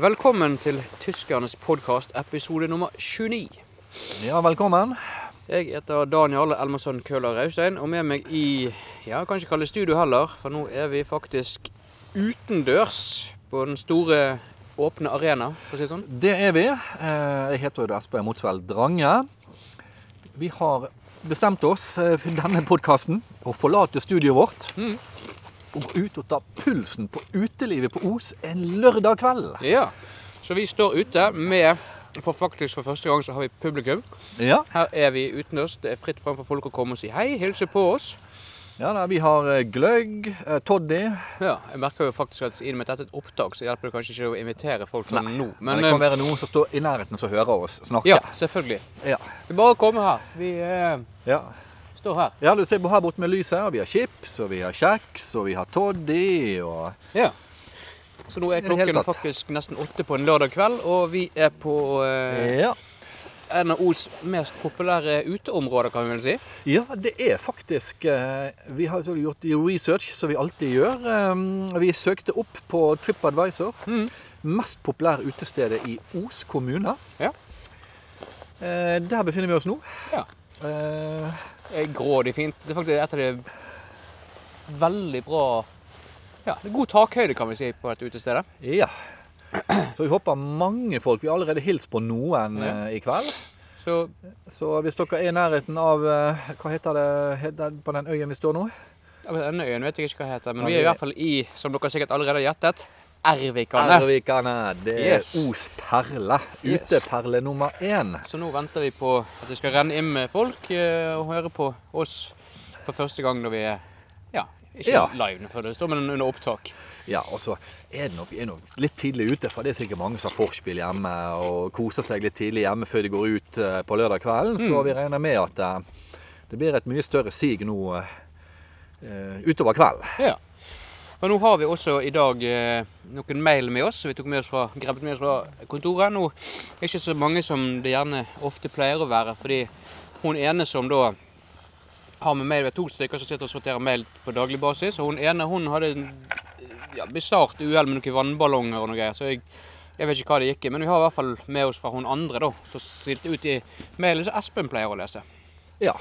Velkommen til Tyskernes podkast, episode nummer 29. Ja, velkommen. Jeg heter Daniel Elmarsson Køhler Raustein, og med meg i ja, kan ikke kalle det studio heller, for nå er vi faktisk utendørs på den store, åpne arena, for å si det sånn. Det er vi. Eh, Jeg heter jo Espen Motsveld Drange. Vi har bestemt oss eh, for denne podkasten å forlate studioet vårt Mm. og gå ut og ta pulsen på utelivet på Os en lørdag kveld. Ja. Så vi står ute med for faktisk for første gang så har vi publikum. Ja, Her er vi utendørs. Det er fritt fram for folk å komme og si hei, hilse på oss. ja da, Vi har eh, gløgg, eh, toddy Ja, Jeg merker jo faktisk at i og med at dette er et opptak, så hjelper det kanskje ikke å invitere folk sånn nå. Men, Men, det eh, kan være noen som står i nærheten som hører oss snakke. ja, selvfølgelig. Ja. Det er bare å komme her. Vi eh, Ja. står her. ja, du ser her borte med lyset. og Vi har chips, og vi har kjeks, og vi har toddy. og... Ja. Så nå er I det hele klokken tatt. faktisk nesten åtte på en lørdag kveld, og vi er på eh, Ja. en av Os mest populære uteområder, kan vi vel si. Ja, det er faktisk eh, Vi har jo gjort research, som vi alltid gjør. Eh, Vi søkte opp på TripAdvisor. Mhm. Mest populære utestedet i Os kommune. Ja. Eh, Der befinner vi oss nå. Ja. Eh, Det er Grådig fint. Det er faktisk et av de veldig bra Ja, det er god takhøyde, kan vi si, på dette utestedet. Ja. Så vi håper mange folk. Vi har allerede hilst på noen Ja. eh, i kveld. Så Så hvis dere er i nærheten av eh, Hva heter det heter det på den øyen vi står nå? ja, men Denne øyen vet jeg ikke hva heter, men Ja, vi er i vi- hvert fall i, som dere sikkert allerede har gjettet, Ervikane. Ervikane. Det er Yes. Os perle. Yes. Uteperle nummer én. Så nå venter vi på at det skal renne inn med folk eh, og høre på oss for første gang når vi er Ja, ikke Ja. live, for det står, men under opptak. Ja, og så er det nok, vi er nok litt tidlig ute, for det er sikkert mange som har forspill hjemme og koser seg litt tidlig hjemme før de går ut eh, på lørdag kvelden. Mm. Så vi regner med at eh, det blir et mye større sig nå eh, utover kvelden. Ja. Og nå har vi også i dag eh, noen mail med oss. Vi tok med oss fra, grabbet med oss fra kontoret. Nå er det ikke så mange som det gjerne ofte pleier å være, fordi hun ene som da har med mail, vi er to stykker som sitter og sorterer mail på daglig basis, og hun ene hun hadde en ja, bisart uhell med noen vannballonger og noe greier, så jeg, jeg vet ikke hva det gikk i, men vi har i hvert fall med oss fra hun andre da, som stilte ut i mailen som Espen pleier å lese. Ja.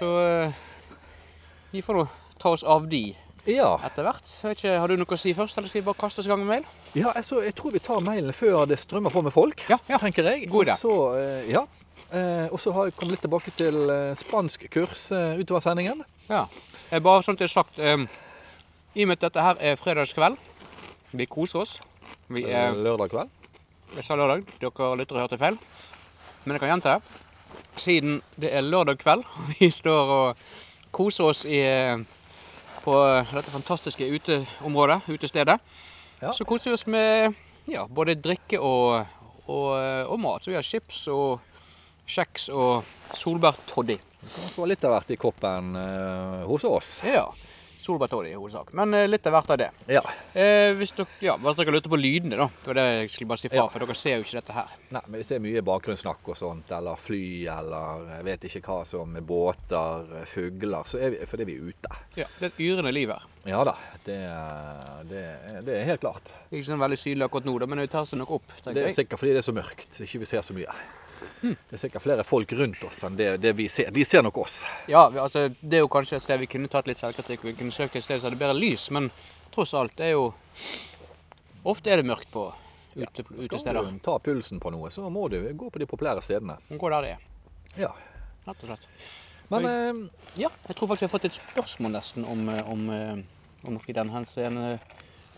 Så eh, vi får nå ta oss av de Ja, etter hvert. Jeg vet ikke, Har du noe å si først, eller skal vi bare kaste oss i gang med mail? ja altså, jeg tror vi tar mailen før det strømmer på med folk, Ja, ja. tenker jeg. God idé. Og så, eh, ja. Eh, og så har jeg kommet litt tilbake til eh, spansk kurs eh, utover sendingen. Ja. Eh, Bare sånn til sagt, eh, i og med at dette her er fredagskveld, vi koser oss. Vi eh, er, Lørdag kveld. jeg sa lørdag, dere lyttere hørte feil. Men jeg kan gjenta det. Siden det er lørdag kveld, og vi står og koser oss i, eh, på dette fantastiske uteområdet, utestedet, Ja. så koser vi oss med ja, både drikke og, og, og mat. Så vi har chips og kjeks og solbærtoddy. Det kan få litt av hvert i koppen eh, hos oss. Ja. Solbærtoddy i hovedsak. Men eh, litt av hvert av det. Ja. Eh, hvis dere, ja, hvis dere lurer på lydene, da. Det var det jeg skulle bare si fra, Ja. for dere ser jo ikke dette her. Nei, men Vi ser mye bakgrunnssnakk og sånt, eller fly, eller jeg vet ikke hva som båter, fugler så er vi, Fordi vi er ute. Ja, Det er et yrende liv her. Ja da, det, er- det, er- det er helt klart. Det er ikke sånn veldig synlig akkurat nå, da, men det tar seg nok opp. Det tenker er Hmm. jeg. sikkert fordi det er så mørkt, så ikke vi ser så mye. Det er sikkert flere folk rundt oss enn det, det vi ser. De ser nok oss. Ja, vi- altså, Det er jo kanskje et sted vi kunne tatt litt selvkritikk. Vi kunne søkt et sted som hadde bedre lys, men tross alt, det er jo Ofte er det mørkt på ute, Skal utesteder. du ta pulsen på noe, så må du gå på de populære stedene. Gå der det er, Ja. rett og slett. Men eh, Ja, jeg tror faktisk jeg har fått et spørsmål nesten om, eh, om, eh, om noe i den henseende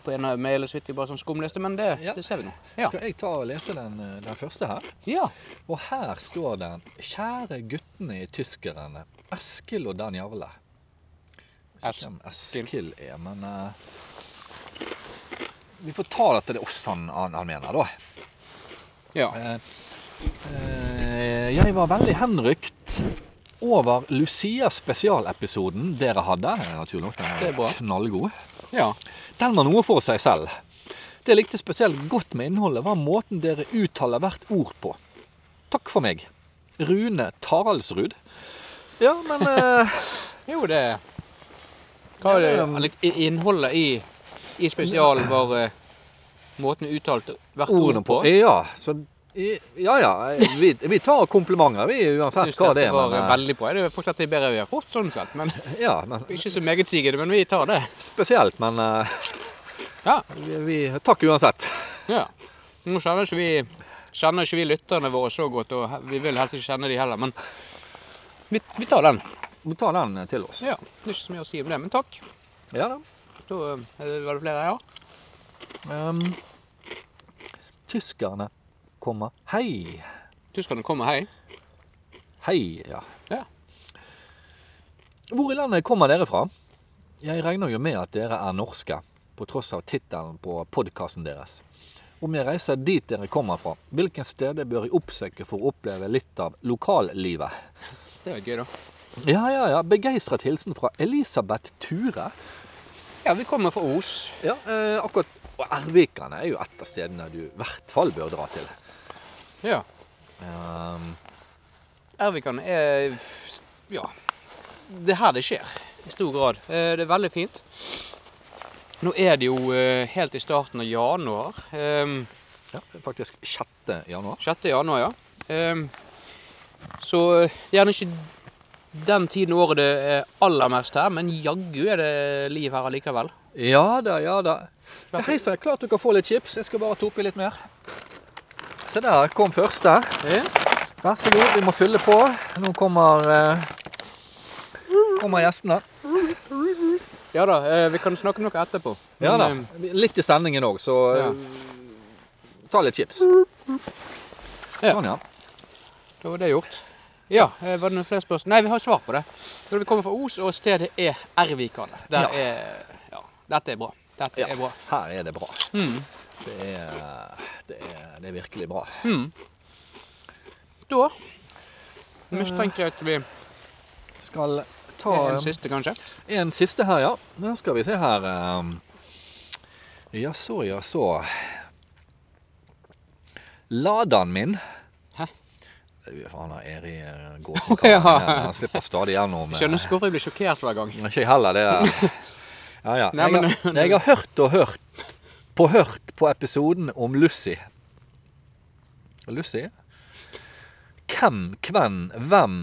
på en av mailene så vidt jeg bare sånn skumleste, men det, Ja. det ser vi nå. Ja. skal jeg ta og lese den, eh, den første her? ja. Og her står den 'Kjære guttene i tyskerne', Eskil og Dan Jarle. Jeg vet ikke hvem Eskil er, men eh, Vi får ta dette til oss han, han, han mener, da. ja. Eh, eh, jeg var veldig henrykt over Lucia-spesialepisoden dere hadde. Eh, Naturlig nok, Det den er bra. var knallgod. Ja. Den var noe for seg selv. Det jeg likte spesielt godt med innholdet, var måten dere uttaler hvert ord på. Takk for meg. Rune Taraldsrud. Ja, men eh, Jo, det Hva er det? Eller, i- Innholdet i, i spesialen var eh, måten du uttalte hvert Ordene ord på på. Ja, så, ja, ja. Vi, vi tar komplimenter, vi, uansett Synes hva dette det er. var eh, Men, veldig bra. Det er fortsatt det bedre vi har fått, sånn sett. Men eh, ja, men, ikke så megetsigende, men vi tar det. spesielt, men eh, Ja. vi, vi, Takk uansett. ja. Nå kjenner ikke vi, kjenner ikke vi lytterne våre så godt, og he- vi vil helst ikke kjenne de heller, men vi, vi tar den. Vi tar den til oss. Ja, det er ikke så mye å si om det, men takk. Ja da. Da eh, var det flere, ja. Ehm, tyskerne kommer. Hei. Tyskerne kommer, hei. Hei, ja. Ja. Hvor i landet kommer dere fra? Jeg regner jo med at dere er norske, på tross av tittelen på podkasten deres. Om jeg reiser dit dere kommer fra, hvilken steder bør jeg oppsøke for å oppleve litt av lokallivet? Det var gøy, da. Ja, ja, ja. Begeistret hilsen fra Elisabeth Ture. Ja, vi kommer fra Os. Ja, eh, akkurat Og Elvikerne er jo et av stedene du i hvert fall bør dra til. Ja. Ehm, Ervikan er f- Ja. Det er her det skjer, i stor grad. Eh, Det er veldig fint. Nå er det jo eh, helt i starten av januar. eh, ja, faktisk 6. januar. 6. januar, ja. Eh, Så eh, det er gjerne ikke den tiden av året det er aller mest her, men jaggu er det liv her allikevel. Ja da, ja da. Ja, Hei sann, klart du kan få litt chips. Jeg skal bare tope i litt mer. Se der kom første. Ja. Vær så god, vi må fylle på. Nå kommer, eh, kommer gjestene. Ja da, eh, vi kan snakke om noe etterpå. Ja da. Men, eh, Litt i stemningen òg, så Ja. eh, ta litt chips. Ja. Sånn, ja. Da var det gjort. Ja, eh, var det noen flere spørsmål? Nei, vi har svar på det. Når vi kommer fra Os, og stedet er Ervikane. Der Ja. er Ja, dette er bra. Dette Ja. er bra. Her er det bra. Mm. Det er, det er, det er virkelig bra. Mm. Da mistenker jeg at vi Skal ta er en siste, kanskje. En siste her, ja. Nå skal vi se her. eh, Ja så, ja så. Ladaen min Hæ? Fy faen, han er i eh, gåsekammen. Ja. her. Han slipper stadig gjennom. Jeg eh, skjønner ikke hvorfor jeg blir sjokkert hver gang. Ikke jeg heller, det er Ja, ja. Nei, Jeg har, men- jeg har hørt og hørt på hørt på episoden om Lucy. Lucy? Hvem, hvem, hvem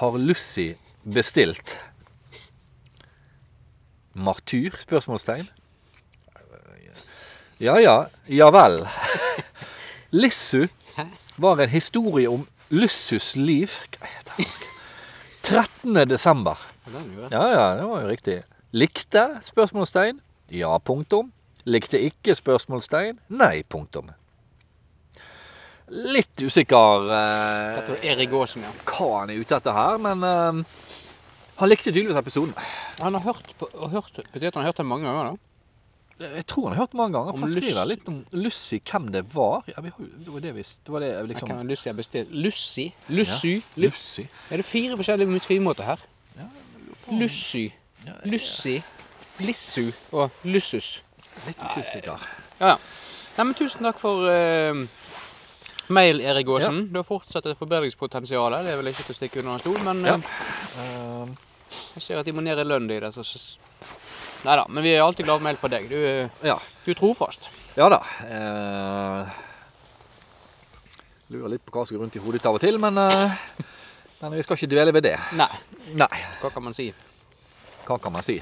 har Lucy bestilt? Martyr? Spørsmålstegn. Ja ja, ja vel. Lissu var en historie om Lussus liv. Hva er det for noe? 13. desember. Ja, den er jo rett. Ja, ja, det var jo riktig. Likte? Spørsmålstegn. Ja, punktum. Likte ikke? Spørsmålstegn. Nei, punktum. Litt usikker eh, Dette var Erik Aasen, ja. hva han er ute etter her, men eh, han likte tydeligvis episoden. Han har hørt på og hørt, Betyr det at han har hørt den mange ganger? da? Jeg tror han har hørt mange ganger. Om for Han skriver Lucy. litt om Lucy, hvem det var. Ja, vi har, jo- det var det vi Det var det jeg Jeg kan liksom ha lyst til å bestille Lussy. Lussy. Lu- Lucy. Er det fire forskjellige skrivemåter her? Ja, Lussy, Ja, jeg- Lussy, Lissu og Lussus. Litt usikker. Ja, ja. Nei, men tusen takk for eh, mail, Erik Aasen. Du har fortsatt et forbedringspotensial. Det er vel ikke til å stikke under en stol, men Ja. eh, Eh, jeg ser at de må ned i lønn i det. Så, så. Nei da, men vi er alltid glad for mail fra deg. Du, eh, Ja. du er trofast. Ja da. Eh, lurer litt på hva som går rundt i hodet av og til, men, eh, men vi skal ikke dvele ved det. Nei, Nei, hva kan man si? hva kan man si?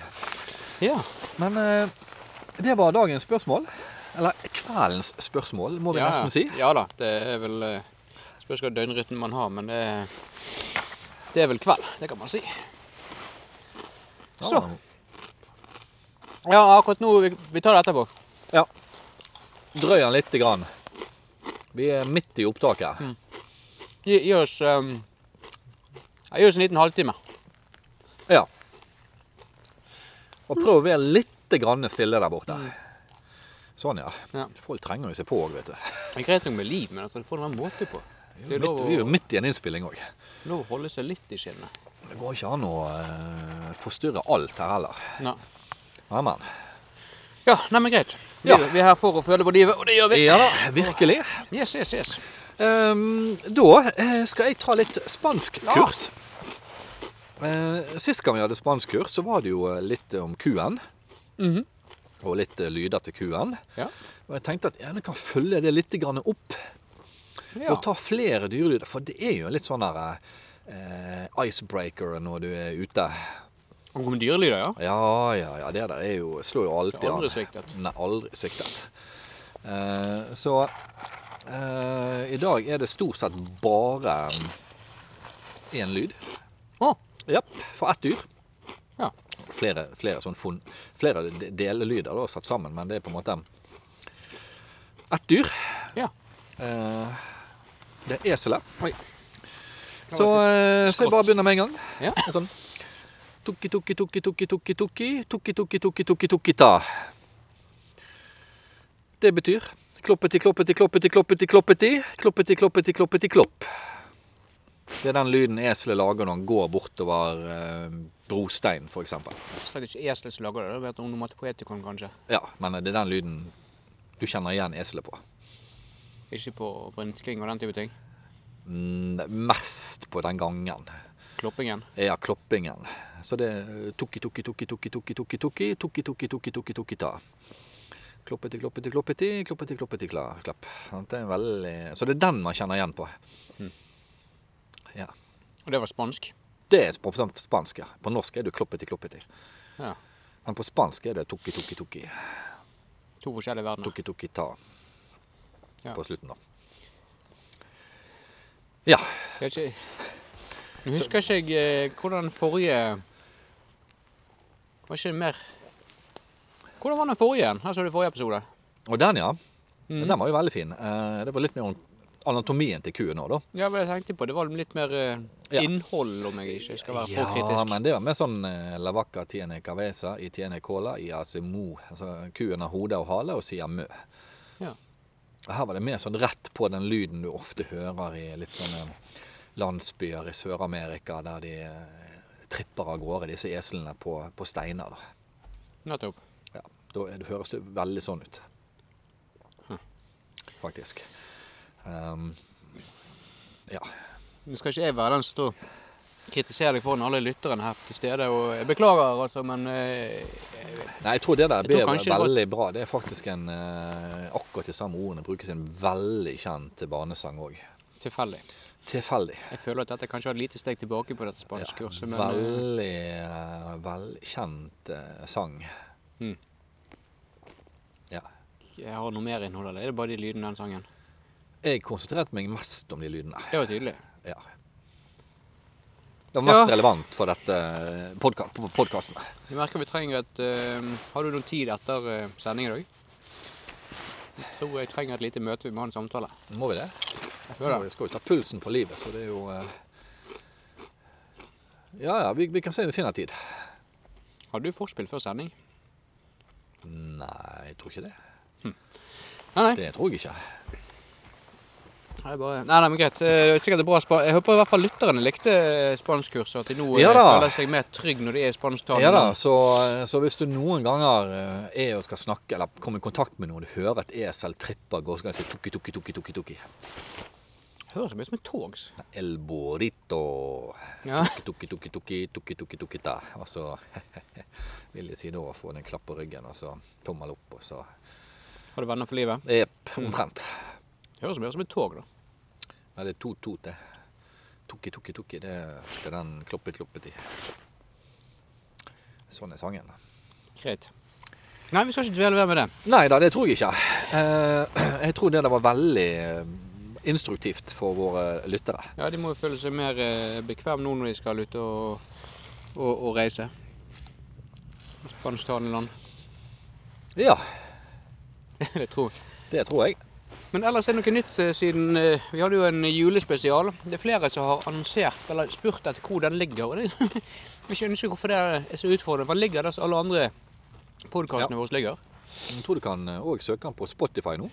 Ja. Men eh, det var dagens spørsmål. Eller kveldens spørsmål, må vi ja, nesten si. Ja da, det er vel eh, Spørs hva døgnrytmen man har, men det er, det er vel kveld. Det kan man si. Så. Ja, akkurat nå Vi, vi tar det etterpå. Ja. Drøy den lite grann. Vi er midt i opptaket. Mm. Gi, gi oss um, ja, Gi oss en liten halvtime. Ja. Og prøv å være lite grann stille der borte. Sånn, ja. Mm. Ja. Folk trenger jo seg på òg, vet du. Det er greit nok med liv, men altså, det får du være måte på. Det er lov Midt, å, vi er jo midt i en innspilling òg. lov å holde seg litt i skinnet. Det går ikke an å eh, forstyrre alt her heller. Ja, Nei, men. ja nei, men greit. Vi, Ja. vi er her for å føle på livet, og det gjør vi. Ja da, virkelig. Yes, yes, yes. Ehm, da eh, skal jeg ta litt spanskkurs. Eh, sist gang vi hadde spanskkurs, så var det jo eh, litt om kuen. Mhm. Og litt eh, lyder til kuen. Ja. Og jeg tenkte at jeg kan følge det litt grann opp Ja. og ta flere dyrelyder. For det er jo litt sånn der eh, icebreaker når du er ute. Han kom med dyrelyder, ja? Ja, ja, ja. Det der er jo, slår jo alltid Det er aldri an. sviktet. Nei, aldri sviktet. Eh, så eh, i dag er det stort sett bare én lyd. Å, Ja, for ett dyr. ja. Flere, flere, sånn fon, flere de- delelyder da, satt sammen, men det er på en måte ett dyr. ja. Eh, det er eselet. Oi. Så, eh, så jeg bare begynner med en gang. Ja. Sånn. Tukki, tukki, tukki, tukki, tukki, tukki, tukki, tukki, tukki, tukki, tukki, ta. Det betyr kloppeti, kloppeti, kloppeti, kloppeti, kloppeti, kloppeti, kloppeti, kloppeti, klopp. Det er den lyden eselet lager når han går bortover eh, brostein, for eksempel. Så det er ikke E Esløs lager det. Det vet om onomatopoetikon, kanskje. Ja, men det er den lyden du kjenner igjen eselet på. Ikke på vrønsking og den type ting. Mm, mest på den gangen. Kloppingen. Ja, kloppingen. Så det er tukki, tukki, tukki, tukki, tukki, tukki, tukki, tukki, tukki, tukki, tukki, tukki, ta. Kloppeti, kloppeti, kloppeti, kloppeti, kloppeti, kla, klapp. Sant? Det er veldig... Så det er den man kjenner igjen på. Ja. Og det var spansk. Det er på på spansk, ja. På norsk er det kloppeti, kloppeti. Ja. Men på spansk er det tukki, tukki, tukki, To forskjellige verdener. tukki, tukki, ta. Ja. På slutten da. Ja, Det er ikke... Nå husker ikke jeg eh, hvordan forrige Var ikke det mer Hvordan var den forrige igjen? Her så du forrige episode. og den ja. Den var jo veldig fin. Eh, Det var litt mer om anatomien til kuen nå da. Ja, men jeg tenkte på Det var litt mer eh, Ja. innhold, om jeg ikke skal være for Ja, kritisk. men det var mer sånn eh, la vacca tiene cavesa i tiene cola i asimu. Altså, kuen har hode og hale og sier mø. Ja. Og Her var det mer sånn rett på den lyden du ofte hører i litt sånne landsbyer i Sør-Amerika, der de eh, tripper av gårde disse eslene på, på steiner. Da. Nettopp. Ja, da er- det høres det veldig sånn ut. Hm. Faktisk. Ehm, ja. Nå skal ikke jeg være den som står og kritiserer deg foran alle lytterne her til stede. Og jeg beklager, altså, men eh, Nei, jeg tror det der Jeg tror ble kanskje det var- veldig bra. Det er faktisk en eh, Akkurat de samme ordene brukes i en veldig kjent barnesang òg. tilfeldig. Tilfeldig. Jeg føler at dette kanskje var et lite steg tilbake på dette spanskkurset, men eh, veldig uh, velkjent eh, sang. Mm. Ja. jeg har noe mer innhold av det. Er det bare de lydene i den sangen? Jeg konsentrerte meg mest om de lydene. Det var tydelig. Ja. Det var mest Ja. relevant for dette eh, podka på podkasten. Jeg merker vi trenger et eh, Har du noen tid etter eh, sending i dag? Jeg tror jeg trenger et lite møte. Vi må ha en samtale. Må vi det? Jeg Ja, føler vi skal jo ta pulsen på livet, så det er jo eh, Ja ja, vi, vi kan se om vi finner tid. det. Har du forspill før sending? Nei, jeg tror ikke det. Nei, nei. Det tror jeg ikke. Nei, bare... nei, nei, men greit. Eh, det er Sikkert et bra spa... Jeg håper i hvert fall lytterne likte eh, spanskkurs, og at de nå eh, Ja da. føler seg mer trygg når de er i Ja da, spansktalende. så, så hvis du noen ganger eh, er og skal snakke, eller komme i kontakt med noen, du hører et esel tripper, går, så kan du si tukki, tukki, tukki, tukki, tukki. Høres mye som et tog. s- El burrito. Ja. Tukki, tukki, tukki, tukki, tukki, tukki, ta. Og så vil de si da få den klapp på ryggen, og så tommel opp, og så Har du venner for livet? Jepp, omtrent. Høres mer som et tog, da. Nei, det er to-to, det. Tukki, tukki, tukki, det er det er den kloppet, kloppet i. Sånn er sangen. Greit. Nei, vi skal ikke dvele mer med det. Nei da, det tror jeg ikke. Eh, Jeg tror det der var veldig eh, instruktivt for våre lyttere. Ja, De må jo føle seg mer eh, bekvem nå når de skal ut og, og, og reise. Spansktalende land. Ja, det tror jeg. det tror jeg. Men ellers er det noe nytt eh, siden eh, Vi hadde jo en julespesial. Det er flere som har annonsert eller spurt etter hvor den ligger. og det- Jeg skjønner ikke hvorfor det er så utfordrende. For den ligger der som alle andre podkastene våre ligger. Jeg tror du kan òg søke den på Spotify nå.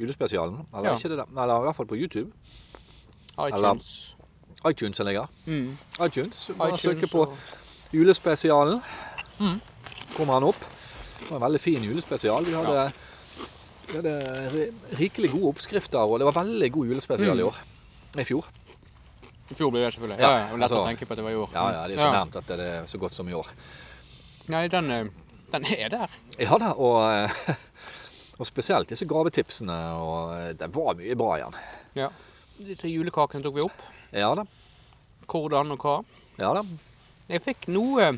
Julespesialen. Eller, Ja. ikke det der. Eller i hvert fall på YouTube. iTunes. iTunes er ligger. Mm. iTunes. Mm. Bare iTunes søke på og- Julespesialen. Kommer han opp. Det var en veldig fin julespesial. Vi hadde, vi hadde ri- rikelig gode oppskrifter, og det var veldig god julespesial i år. I fjor. I fjor ble det selvfølgelig. Ja, Ja, ja, det var Lett å altså- tenke på at det var i år. Ja, ja, det er så nevnt at det er så godt som i år. Nei, den, eh, den er der. Ja da, og, eh, og Og spesielt disse gravetipsene. og eh, Det var mye bra igjen. Ja. Disse julekakene tok vi opp. Ja da. Hvordan og hva. Ja da. Jeg fikk noe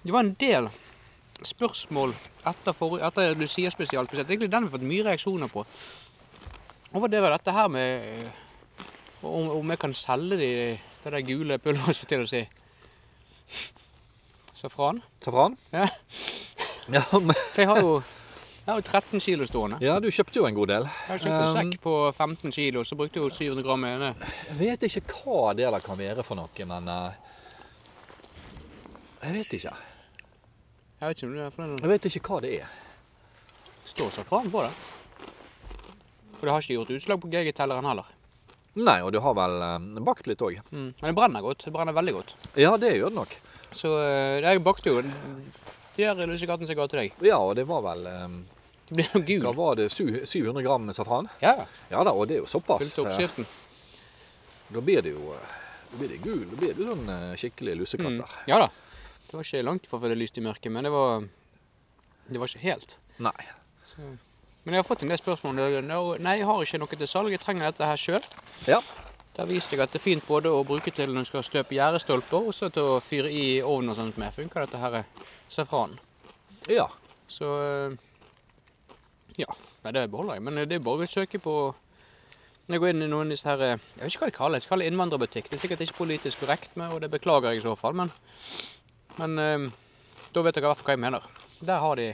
Det var en del spørsmål etter, for, etter Lucia spesial, spesielt. Egentlig den har vi fått mye reaksjoner på. Og var det var dette her med eh, om, om jeg kan selge de, det der gule pulveret, skulle jeg til å si. Safran. Safran? Ja. Ja, men, For jeg har jo, jeg har jo 13 kilo stående. ja, du kjøpte jo en god del. Jeg har kjøpt en sekk på 15 kilo, så brukte jeg jo 700 gram ene. Jeg vet ikke hva det der kan være for noe, men eh, Jeg vet ikke. Jeg vet ikke om det er for den Jeg vet ikke hva det er. står safran på det. Og det har ikke gjort utslag på GG-telleren heller. Nei, og du har vel eh, bakt litt òg? Mm. Men det brenner godt. Det brenner veldig godt. Ja, det gjør det nok. Så eh, jeg bakte jo de her lussekattene som jeg ga til deg. Ja, og det var vel eh, De ble jo Hva gul. var det? Su- 700 gram med safran? Ja, ja. Ja da, og det er jo såpass. Fulgte oppskriften. eh, Da blir det jo eh, da blir det gul. Da blir det sånn eh, skikkelig lussekatt Mm. der. Ja da. Det var ikke langt fra før det lyste i mørket, men det var Det var ikke helt. Nei. Så. Men jeg har fått en del spørsmål om det. No, Nei, jeg har ikke noe til salg. Jeg trenger dette her sjøl. Ja. Der viste jeg at det er fint både å bruke til når du skal støpe gjerdestolper, og så til å fyre i ovnen og sånt med. Funker dette her eh, safranen? ja. Så eh, ja. Nei, det beholder jeg. Men eh, det er bare å søke på Når jeg går inn i noen av disse her eh, Jeg vet ikke hva det kalles. Jeg kaller det innvandrerbutikk. Det er sikkert ikke politisk korrekt, med, og det beklager jeg i så fall, men, men eh, da vet dere i hvert fall hva jeg mener. Der har de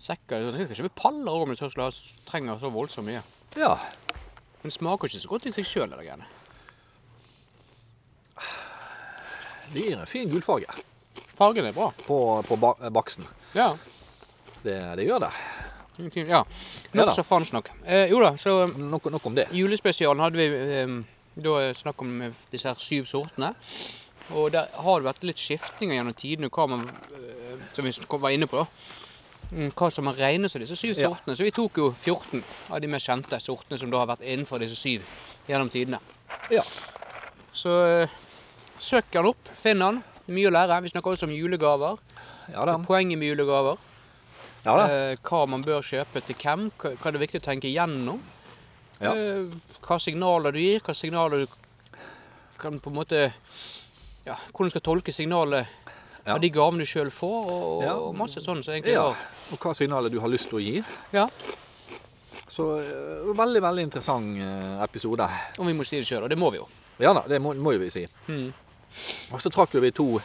sekker. Du kan kjøpe paller også om du tørst ha- trenger så voldsomt mye. Ja. Men det smaker ikke så godt i seg sjøl, det greiene. Det gir en fin gulfarge Fargen er bra. på, på ba baksten. Ja. Det, det gjør det. Ingenting- Ja. Ja Nok da. så fransk nok. Eh, jo da, så eh, Nok, nok om det. I julespesialen hadde vi eh, da snakk om disse her syv sortene. Og der har det vært litt skiftinger gjennom tidene, hva man, eh, som vi kom- var inne på. da. Mm, Hva som regnes som disse syv Ja. sortene. Så vi tok jo 14 av de mer kjente sortene som da har vært innenfor disse syv gjennom tidene. Ja. Så eh, søk han opp, finn han. Mye å lære. Vi snakker også om julegaver. Ja da. Poenget med julegaver. Ja da. Eh, hva man bør kjøpe til hvem, hva hva det er viktig å tenke igjennom. Ja. Eh, hva signaler du gir, hva signaler du kan på en måte ja, Hvordan du skal tolke signalet Ja. av de gavene du sjøl får, og, Ja. og masse sånn. som egentlig Ja. var- Og hva signalet du har lyst til å gi. ja. Så eh, veldig, veldig interessant eh, episode. Om vi må si det sjøl, og det må vi jo. Ja da, det må, må jo vi si. Mm. Og så trakk jo vi to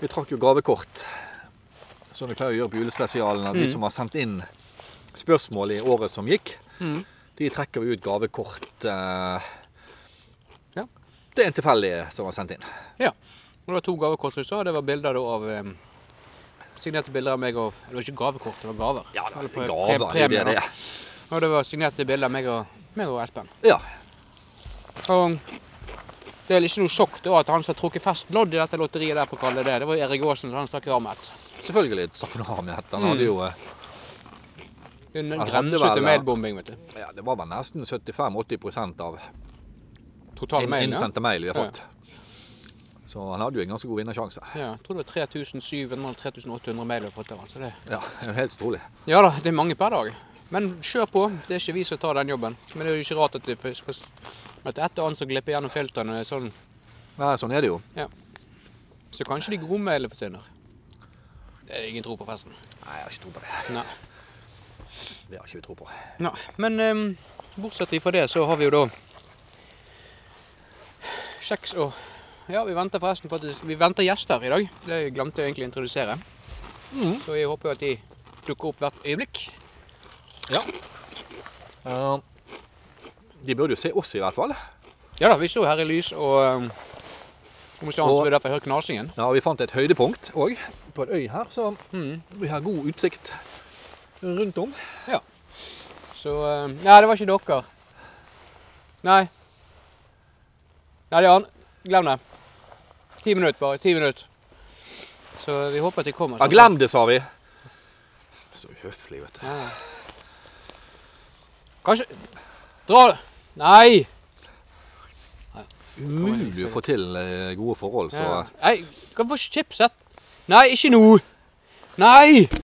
Vi trakk jo gavekort, som vi pleier å gjøre på julespesialen. At de som har sendt inn spørsmål i året som gikk, Mm. de trekker vi ut gavekort eh, Ja. Det er en tilfeldig som har sendt inn. Ja. Og det var to gavekort som du sa. Det var bilder da av eh, Signerte bilder av meg og Det var ikke gavekort, det var gaver. Ja, det Eller er pre- gaver. pre- Det er jo det premier, det da. er. Og det var signerte bilder av meg og, meg og Espen. Ja. Og det er ikke noe sjokk da at han som har trukket fast lodd i dette lotteriet der, for å kalle det det, det var Erik Aasen som han stakk i armen. Selvfølgelig stakk han av med dette. Han Mm. hadde jo eh, En Han hadde grense vel, til ja. mailbombing, vet du. ja, Det var vel nesten 75-80 av Total inn- mail, ja. innsendte mail vi har Ja, ja. fått. Så han hadde jo en ganske god vinnersjanse. ja. Jeg tror det var 3700-3800 mail vi har fått av han. Så det Ja, det er jo helt utrolig. Ja da, det er mange per dag. Men kjør på. Det er ikke vi som tar den jobben. Men det er jo ikke rart at det først- først- at det er et og annet som glipper gjennom filterne. Sånn. Nei, sånn er det jo. Så kanskje de gode mailene forsvinner. Det er ingen tro på festen. Nei, jeg har ikke tro på det. Nei. Det har ikke vi tro på. Ja, men ehm, bortsett fra det, så har vi jo da kjeks og Ja, vi venter forresten på at det, vi venter gjester i dag. Det glemte jeg egentlig å introdusere. Mm. Så jeg håper jo at de dukker opp hvert øyeblikk. Eh, de burde jo se oss, i hvert fall. Ja da, vi sto her i lys og ehm, Om ikke annet så Og- vil derfor høre knasingen. Ja, Vi fant et høydepunkt òg, på en øy her, så hmm, Mm. vi har god utsikt rundt om. Altså- Så ehm, Nei, det var ikke dere. Nei. Nei, det er han. Glem det. Ti minutter, bare. Ti minutter. Så vi håper at de kommer. Ja, Glem det, sa vi. Så uhøflig, vet du. Ja. Ah. Kanskje Dra Nei! Umulig å få til eh, gode forhold, så Ja. Nei, kan få chipset. Nei, ikke nå! Nei!